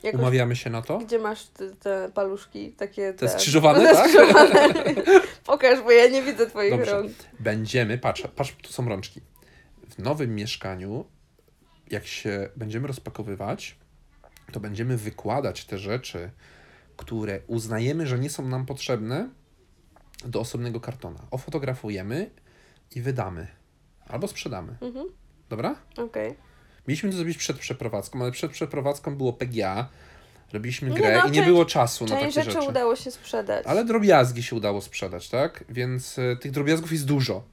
Speaker 1: Jakoś,
Speaker 2: Umawiamy się na to?
Speaker 1: Gdzie masz te, te paluszki takie?
Speaker 2: Te skrzyżowane,
Speaker 1: te
Speaker 2: tak?
Speaker 1: skrzyżowane. Pokaż, bo ja nie widzę twoich
Speaker 2: Dobrze.
Speaker 1: rąk.
Speaker 2: Będziemy, patrz, patrz, tu są rączki. W nowym mieszkaniu, jak się będziemy rozpakowywać, to będziemy wykładać te rzeczy, które uznajemy, że nie są nam potrzebne, do osobnego kartona. Ofotografujemy i wydamy. Albo sprzedamy.
Speaker 1: Mhm.
Speaker 2: Dobra?
Speaker 1: Okej.
Speaker 2: Mieliśmy to zrobić przed przeprowadzką, ale przed przeprowadzką było PGA, robiliśmy
Speaker 1: Nie
Speaker 2: grę
Speaker 1: no,
Speaker 2: i nie
Speaker 1: część-
Speaker 2: było czasu na takie
Speaker 1: Część
Speaker 2: rzeczy.
Speaker 1: rzeczy udało się sprzedać.
Speaker 2: Ale drobiazgi się udało sprzedać, tak? Więc y, tych drobiazgów jest dużo.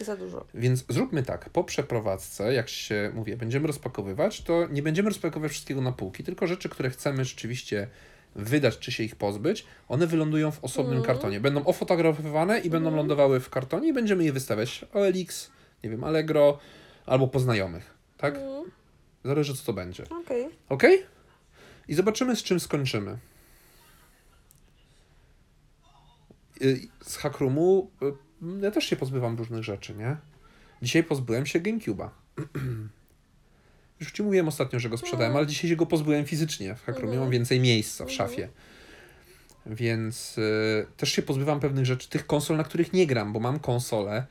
Speaker 1: Za dużo.
Speaker 2: Więc zróbmy tak, po przeprowadzce, jak się mówię, będziemy rozpakowywać, to nie będziemy rozpakowywać wszystkiego na półki, tylko rzeczy, które chcemy rzeczywiście wydać, czy się ich pozbyć, one wylądują w osobnym
Speaker 1: Mhm.
Speaker 2: kartonie. Będą ofotografowane i będą
Speaker 1: Mhm.
Speaker 2: lądowały w kartonie i będziemy je wystawiać. OLX, nie wiem, Allegro albo po znajomych, tak?
Speaker 1: Mm,
Speaker 2: Zależy co to będzie.
Speaker 1: Okej.
Speaker 2: Ok? I zobaczymy z czym skończymy. Y, Z Hackrumu y, ja też się pozbywam różnych rzeczy, nie? Dzisiaj pozbyłem się Gamecube'a. Już ci mówiłem ostatnio, że go
Speaker 1: Mm.
Speaker 2: sprzedałem, ale dzisiaj się go pozbyłem fizycznie. W Hackrumie
Speaker 1: Mm-hmm.
Speaker 2: mam więcej miejsca w szafie. Więc y, też się pozbywam pewnych rzeczy, tych konsol, na których nie gram, bo mam konsole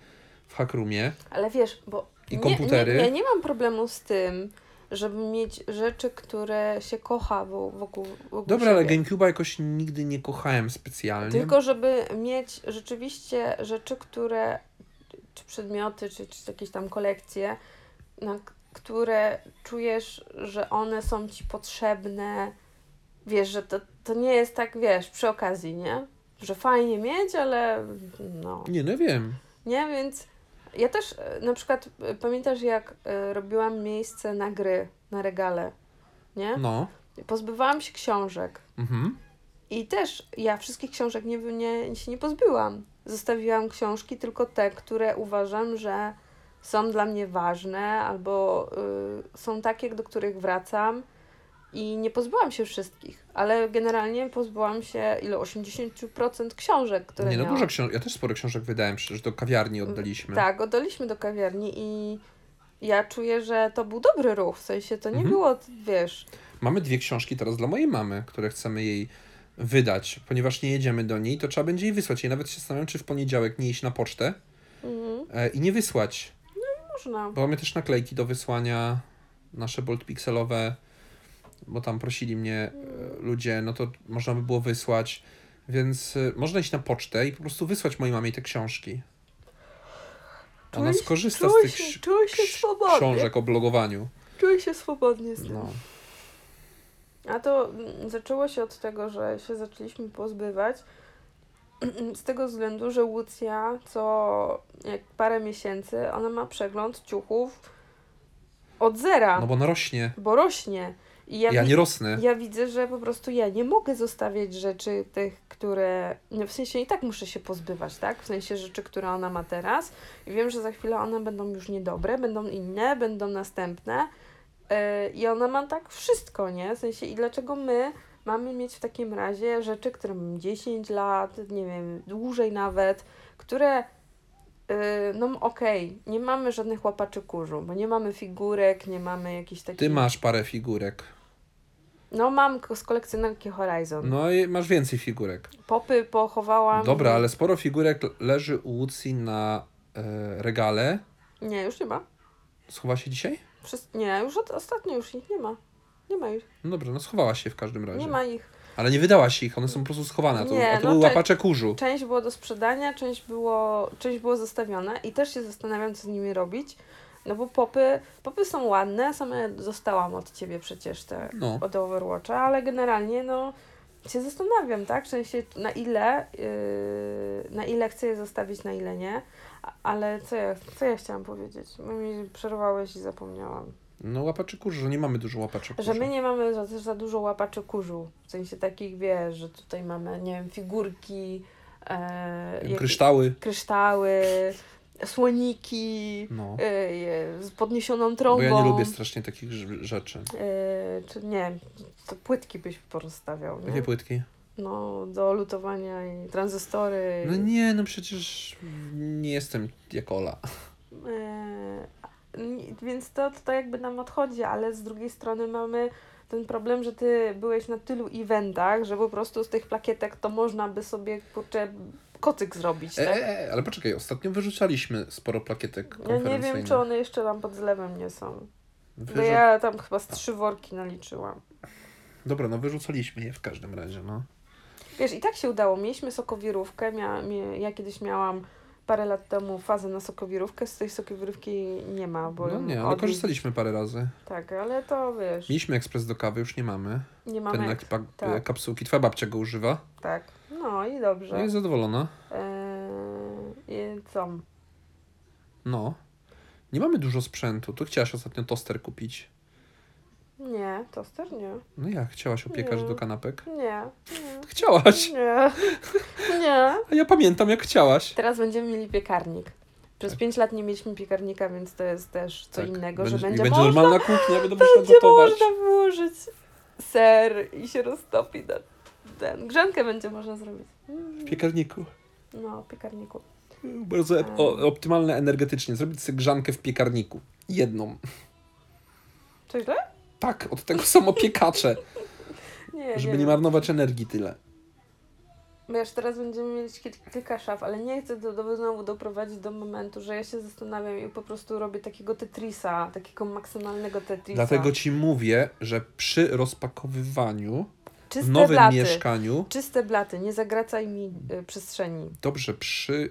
Speaker 2: w Hackrumie.
Speaker 1: Ale wiesz, bo
Speaker 2: I komputery.
Speaker 1: Nie, nie, ja nie mam problemu z tym, żeby mieć rzeczy, które się kocha wo- wokół, wokół
Speaker 2: Dobra,
Speaker 1: siebie.
Speaker 2: ale Gamecube'a jakoś nigdy nie kochałem specjalnie.
Speaker 1: Tylko żeby mieć rzeczywiście rzeczy, które, czy przedmioty, czy, czy jakieś tam kolekcje, na k- które czujesz, że one są ci potrzebne. Wiesz, że to, to nie jest tak, wiesz, przy okazji, nie? Że fajnie mieć, ale no.
Speaker 2: Nie, no wiem.
Speaker 1: Nie, więc ja też e, na przykład e, pamiętasz, jak e, robiłam miejsce na gry, na regale, nie?
Speaker 2: No.
Speaker 1: Pozbywałam się książek.
Speaker 2: Mhm.
Speaker 1: I też ja wszystkich książek nie, nie, się nie pozbyłam. Zostawiłam książki tylko te, które uważam, że są dla mnie ważne albo y, są takie, do których wracam. I nie pozbyłam się wszystkich, ale generalnie pozbyłam się ile 80% książek, które
Speaker 2: Nie, no
Speaker 1: miałam.
Speaker 2: dużo książek. Ja też sporo książek wydałem, przecież do kawiarni oddaliśmy.
Speaker 1: Tak, oddaliśmy do kawiarni i ja czuję, że to był dobry ruch, w sensie to nie
Speaker 2: Mhm.
Speaker 1: było, wiesz,
Speaker 2: Mamy dwie książki teraz dla mojej mamy, które chcemy jej wydać, ponieważ nie jedziemy do niej, to trzeba będzie jej wysłać. Ja nawet się zastanawiam, czy w poniedziałek nie iść na pocztę
Speaker 1: mhm,
Speaker 2: e, i nie wysłać,
Speaker 1: można.
Speaker 2: bo mamy też naklejki do wysłania, nasze bolt pixelowe, bo tam prosili mnie e, ludzie, no to można by było wysłać, więc e, można iść na pocztę i po prostu wysłać mojej mamie te książki. Ona
Speaker 1: Czuję-
Speaker 2: skorzysta z
Speaker 1: Czuję
Speaker 2: tych
Speaker 1: się,
Speaker 2: ksi-
Speaker 1: czuję się
Speaker 2: ksi-
Speaker 1: swobodnie.
Speaker 2: książek o blogowaniu.
Speaker 1: Czuję się swobodnie z tym.
Speaker 2: No.
Speaker 1: A to mm, zaczęło się od tego, że się zaczęliśmy pozbywać. Z tego względu, że Łucja co jak parę miesięcy ona ma przegląd ciuchów od zera,
Speaker 2: No
Speaker 1: bo...
Speaker 2: bo ona rośnie.
Speaker 1: rośnie. I ja,
Speaker 2: Ja,
Speaker 1: wi-
Speaker 2: nie rosnę.
Speaker 1: ja widzę, że po prostu ja nie mogę zostawiać rzeczy tych, które. No w sensie i tak muszę się pozbywać, tak? W sensie rzeczy, które ona ma teraz. I wiem, że za chwilę one będą już niedobre, będą inne, będą następne. Yy, I ona ma tak wszystko, nie? W sensie i dlaczego my mamy mieć w takim razie rzeczy, które mam 10 lat, nie wiem, dłużej nawet, które. yy, No okej, nie mamy żadnych łapaczy kurzu, bo nie mamy figurek, nie mamy jakichś takich...
Speaker 2: Ty masz parę figurek.
Speaker 1: No mam k- z kolekcjonerki Horizon.
Speaker 2: No i masz więcej figurek.
Speaker 1: Popy pochowałam.
Speaker 2: Dobra, ale sporo figurek leży u Łucji na e, regale.
Speaker 1: Nie, już nie ma.
Speaker 2: Schowa się dzisiaj?
Speaker 1: Wszyscy... Nie, już od... ostatnio już ich nie ma. Nie ma ich.
Speaker 2: No dobra, no schowała się w każdym razie.
Speaker 1: Nie ma ich.
Speaker 2: Ale nie wydałaś ich, one są po prostu schowane. To,
Speaker 1: Nie,
Speaker 2: a to
Speaker 1: no
Speaker 2: były
Speaker 1: te-
Speaker 2: łapacze kurzu.
Speaker 1: Część było do sprzedania, część było, część było zostawione i też się zastanawiam, co z nimi robić. No bo popy, popy są ładne, same dostałam od ciebie przecież te
Speaker 2: No.
Speaker 1: od Overwatcha, ale generalnie no się zastanawiam, tak? W sensie na ile, yy, na ile chcę je zostawić, na ile nie. A- Ale co ja, co ja chciałam powiedzieć? Bo mi przerwałeś i zapomniałam.
Speaker 2: No łapacze kurzu, że nie mamy dużo łapaczy kurzu.
Speaker 1: Że my nie mamy za, też za dużo łapaczy kurzu. W sensie takich, wiesz, że tutaj mamy, nie wiem, figurki, e, jak-
Speaker 2: Kryształy.
Speaker 1: kryształy, słoniki,
Speaker 2: No.
Speaker 1: e, e, z podniesioną trąbą.
Speaker 2: Bo ja nie lubię strasznie takich rz- rzeczy.
Speaker 1: e, Czy nie, to płytki byś porozstawiał, nie?
Speaker 2: Jakie płytki?
Speaker 1: No, do lutowania i tranzystory.
Speaker 2: No nie, no przecież nie jestem jak Ola.
Speaker 1: E, ni- więc to, to jakby nam odchodzi, ale z drugiej strony mamy ten problem, że ty byłeś na tylu eventach, że po prostu z tych plakietek to można by sobie kurczę kocyk zrobić,
Speaker 2: E,
Speaker 1: tak?
Speaker 2: e, e, ale poczekaj, ostatnio wyrzucaliśmy sporo plakietek
Speaker 1: Ja
Speaker 2: konferencyjnych.
Speaker 1: nie wiem, czy one jeszcze tam pod zlewem nie są. Bo
Speaker 2: Wyrzu-
Speaker 1: No ja tam chyba z trzy worki naliczyłam.
Speaker 2: Dobra, no wyrzucaliśmy je w każdym razie, no.
Speaker 1: Wiesz, i tak się udało. Mieliśmy sokowirówkę. Mia, mia, ja kiedyś miałam parę lat temu fazę na sokowirówkę. Z tej sokowirówki nie ma, bo
Speaker 2: No
Speaker 1: ją
Speaker 2: nie, ale
Speaker 1: odnieść-
Speaker 2: korzystaliśmy parę razy.
Speaker 1: Tak, ale to wiesz,
Speaker 2: Mieliśmy ekspres do kawy, już nie mamy.
Speaker 1: nie
Speaker 2: Ten
Speaker 1: mamy...
Speaker 2: na kipa-
Speaker 1: tak.
Speaker 2: e, kapsułki, twoja babcia go używa.
Speaker 1: Tak, no i
Speaker 2: No
Speaker 1: dobrze.
Speaker 2: jest zadowolona.
Speaker 1: Eee, i co?
Speaker 2: No. Nie mamy dużo sprzętu. Tu chciałaś ostatnio toster kupić.
Speaker 1: Nie, toster nie.
Speaker 2: No jak? Chciałaś opiekać
Speaker 1: Nie.
Speaker 2: do kanapek? Tak
Speaker 1: Nie,
Speaker 2: Chciałaś!
Speaker 1: nie, nie.
Speaker 2: A ja pamiętam jak chciałaś.
Speaker 1: Teraz będziemy mieli piekarnik. Przez pięć lat nie mieliśmy piekarnika, więc to jest też co
Speaker 2: Tak.
Speaker 1: innego,
Speaker 2: Będzie-
Speaker 1: że
Speaker 2: i
Speaker 1: będzie,
Speaker 2: będzie
Speaker 1: można,
Speaker 2: normalna kuchnia, będę można
Speaker 1: będzie
Speaker 2: gotować.
Speaker 1: można włożyć ser i się roztopi na ten. Grzankę będzie można zrobić. Mm.
Speaker 2: W piekarniku.
Speaker 1: No, piekarniku.
Speaker 2: Bardzo ep- o, optymalne energetycznie. Zrobić sobie grzankę w piekarniku. Jedną.
Speaker 1: To źle?
Speaker 2: Tak, od tego są opiekacze,
Speaker 1: Nie,
Speaker 2: żeby
Speaker 1: nie,
Speaker 2: nie
Speaker 1: wiem.
Speaker 2: marnować energii tyle.
Speaker 1: Wiesz, teraz będziemy mieć kil- kilka szaf, ale nie chcę do, do, znowu doprowadzić do momentu, że ja się zastanawiam i po prostu robię takiego Tetrisa, takiego maksymalnego Tetrisa.
Speaker 2: Dlatego ci mówię, że przy rozpakowywaniu w
Speaker 1: czyste
Speaker 2: nowym
Speaker 1: blaty,
Speaker 2: mieszkaniu,
Speaker 1: czyste blaty, nie zagracaj mi y, przestrzeni.
Speaker 2: dobrze, przy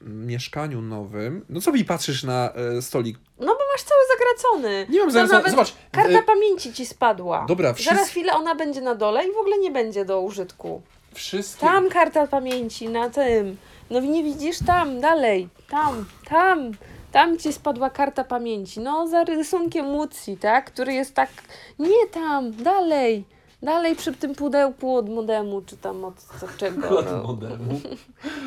Speaker 2: mieszkaniu nowym, no co mi patrzysz na e, stolik?
Speaker 1: No bo masz cały zagracony.
Speaker 2: Nie mam
Speaker 1: To
Speaker 2: zamiaru,
Speaker 1: No nawet
Speaker 2: zobacz,
Speaker 1: Karta
Speaker 2: e,
Speaker 1: pamięci ci spadła.
Speaker 2: dobra,
Speaker 1: Zaraz
Speaker 2: wszystkie,
Speaker 1: chwilę ona będzie na dole i w ogóle nie będzie do użytku.
Speaker 2: wszystkie,
Speaker 1: Tam karta pamięci, na tym. No nie widzisz tam, dalej, tam, tam. Tam ci spadła karta pamięci. No, za rysunkiem Mucji, tak? Który jest tak. Nie tam, dalej. Dalej przy tym pudełku od modemu, czy tam od co, czego. No.
Speaker 2: modemu,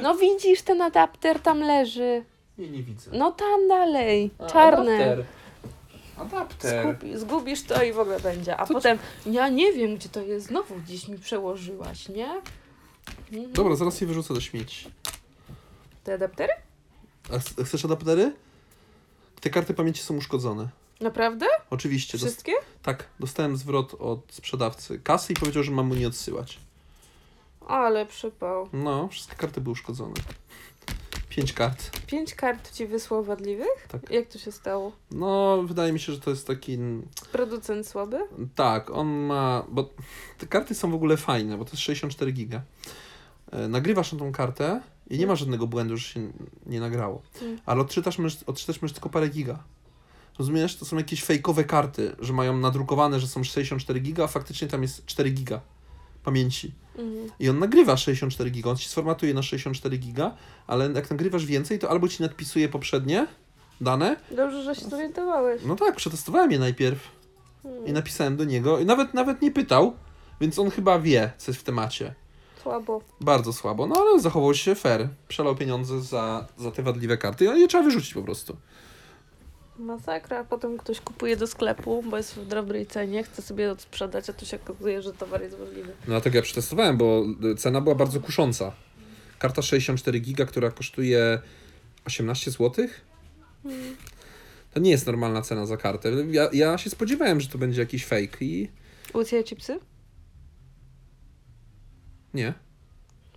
Speaker 1: no widzisz, ten adapter tam leży.
Speaker 2: nie, nie widzę.
Speaker 1: No tam dalej. Czarne.
Speaker 2: Adapter.
Speaker 1: Skupi, zgubisz to i w ogóle będzie. A
Speaker 2: To-
Speaker 1: potem ja nie wiem, gdzie to jest. Znowu gdzieś mi przełożyłaś, nie? Mhm.
Speaker 2: Dobra, zaraz je wyrzucę do śmieci.
Speaker 1: Te adaptery?
Speaker 2: A s- chcesz adaptery? Te karty pamięci są uszkodzone.
Speaker 1: Naprawdę?
Speaker 2: Oczywiście. Dost-
Speaker 1: Wszystkie?
Speaker 2: tak, dostałem zwrot od sprzedawcy kasy i powiedział, że mam mu nie odsyłać.
Speaker 1: Ale przypał.
Speaker 2: No, wszystkie karty były uszkodzone. Pięć kart.
Speaker 1: Pięć kart ci wysłał wadliwych?
Speaker 2: Tak.
Speaker 1: Jak to się stało?
Speaker 2: No, wydaje mi się, że to jest taki.
Speaker 1: Producent słaby?
Speaker 2: Tak, on ma. Bo te karty są w ogóle fajne, bo to jest 64 giga. E, Nagrywasz na tą kartę i nie ma żadnego błędu, że się nie nagrało.
Speaker 1: Mm.
Speaker 2: Ale odczytasz, możesz- odczytać możesz tylko parę giga. Rozumiesz? To są jakieś fejkowe karty, że mają nadrukowane, że są 64 giga, a faktycznie tam jest 4 giga pamięci.
Speaker 1: Mhm.
Speaker 2: I on nagrywa 64 giga, on ci sformatuje na 64 giga, ale jak nagrywasz więcej, to albo ci nadpisuje poprzednie dane.
Speaker 1: Dobrze, że się zorientowałeś.
Speaker 2: No tak, przetestowałem je najpierw i
Speaker 1: Hmm.
Speaker 2: napisałem do niego i nawet nawet nie pytał, więc on chyba wie, co jest w temacie.
Speaker 1: Słabo.
Speaker 2: Bardzo słabo, no ale zachował się fair. Przelał pieniądze za, za te wadliwe karty, ale je trzeba wyrzucić po prostu.
Speaker 1: Masakra. Potem ktoś kupuje do sklepu, bo jest w dobrej cenie, chce sobie odsprzedać, a tu się okazuje, że towar jest wadliwy.
Speaker 2: No dlatego ja przetestowałem, bo y, cena była bardzo kusząca. Karta 64 giga, która kosztuje 18 zł.
Speaker 1: Mhm.
Speaker 2: To nie jest normalna cena za kartę. Ja, ja się spodziewałem, że to będzie jakiś fake i
Speaker 1: Łucja ci psy?
Speaker 2: nie,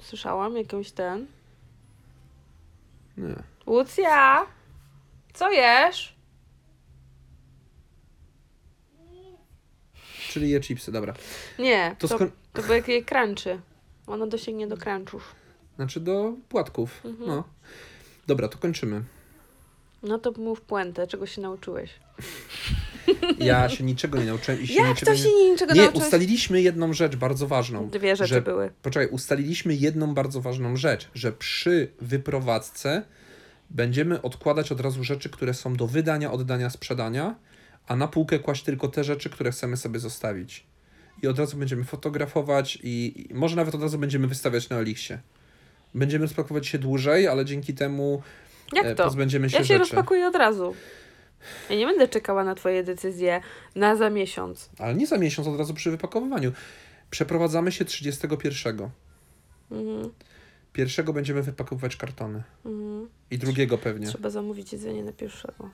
Speaker 1: Słyszałam jakąś ten.
Speaker 2: nie.
Speaker 1: Łucja! Co jesz?
Speaker 2: Czyli je chipsy, dobra.
Speaker 1: Nie,
Speaker 2: To
Speaker 1: to,
Speaker 2: skoro-
Speaker 1: to był jakiej crunchu. Ona dosięgnie do crunchów.
Speaker 2: Znaczy do płatków,
Speaker 1: Mhm.
Speaker 2: no. Dobra, to kończymy.
Speaker 1: No to mów puentę, czego się nauczyłeś.
Speaker 2: Ja się niczego nie nauczyłem. I się
Speaker 1: Jak
Speaker 2: niczego
Speaker 1: to się nie, niczego
Speaker 2: nie... nie,
Speaker 1: nauczyłeś?
Speaker 2: ustaliliśmy jedną rzecz bardzo ważną.
Speaker 1: Dwie rzeczy
Speaker 2: że...
Speaker 1: były.
Speaker 2: Poczekaj, ustaliliśmy jedną bardzo ważną rzecz, że przy wyprowadzce będziemy odkładać od razu rzeczy, które są do wydania, oddania, sprzedania, a na półkę kłaść tylko te rzeczy, które chcemy sobie zostawić. I od razu będziemy fotografować i, i może nawet od razu będziemy wystawiać na Elixie. Będziemy rozpakować się dłużej, ale dzięki temu e,
Speaker 1: Jak to?
Speaker 2: pozbędziemy się
Speaker 1: Ja się
Speaker 2: rzeczy.
Speaker 1: rozpakuję od razu. Ja nie będę czekała na twoje decyzje na za miesiąc.
Speaker 2: Ale nie za miesiąc, od razu przy wypakowywaniu. Przeprowadzamy się 31.
Speaker 1: Mhm,
Speaker 2: Pierwszego będziemy wypakowywać kartony.
Speaker 1: mhm.
Speaker 2: I drugiego pewnie.
Speaker 1: Trzeba zamówić jedzenie na pierwszego.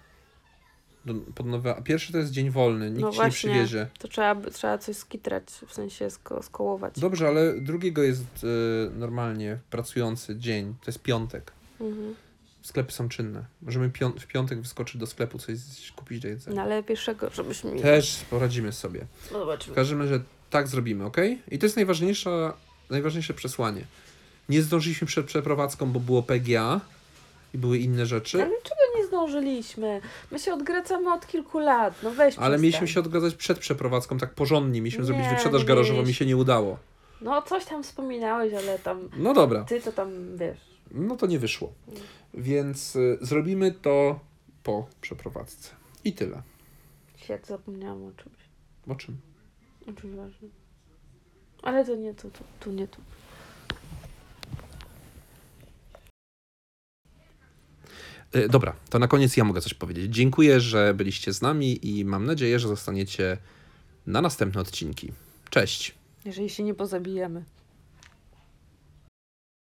Speaker 2: Do, pod nowe, a pierwszy to jest dzień wolny, nikt
Speaker 1: No
Speaker 2: ci nie
Speaker 1: właśnie.
Speaker 2: przywiezie.
Speaker 1: To trzeba, by- trzeba coś skitrać, w sensie sko- skołować.
Speaker 2: Dobrze, ale drugiego jest y, normalnie pracujący dzień, to jest piątek.
Speaker 1: Mhm.
Speaker 2: Sklepy są czynne. Możemy pią- w piątek wyskoczyć do sklepu, coś z- kupić do jedzenia.
Speaker 1: No ale pierwszego, żebyśmy...
Speaker 2: Też poradzimy sobie.
Speaker 1: No
Speaker 2: W
Speaker 1: zobaczymy.
Speaker 2: każdym razie tak zrobimy, ok? I to jest najważniejsze, najważniejsze przesłanie. Nie zdążyliśmy przed przeprowadzką, bo było PGA i były inne rzeczy.
Speaker 1: Ale czego nie zdążyliśmy? My się odgracamy od kilku lat, no weź
Speaker 2: Ale
Speaker 1: przestań.
Speaker 2: mieliśmy się odgadzać przed przeprowadzką, tak porządnie. Mieliśmy zrobić
Speaker 1: Nie,
Speaker 2: wyprzedaż
Speaker 1: nie
Speaker 2: garażową, mi
Speaker 1: mieliśmy.
Speaker 2: się nie udało.
Speaker 1: No coś tam wspominałeś, ale tam...
Speaker 2: No dobra,
Speaker 1: Ty to tam, wiesz...
Speaker 2: no to nie wyszło. Więc y, zrobimy to po przeprowadzce. I tyle.
Speaker 1: Jak zapomniałam o czymś.
Speaker 2: O czym?
Speaker 1: O czymś ważnym. Ale to nie tu, tu, tu nie tu.
Speaker 2: E, Dobra, to na koniec ja mogę coś powiedzieć. Dziękuję, że byliście z nami i mam nadzieję, że zostaniecie na następne odcinki. Cześć!
Speaker 1: Jeżeli się nie pozabijamy.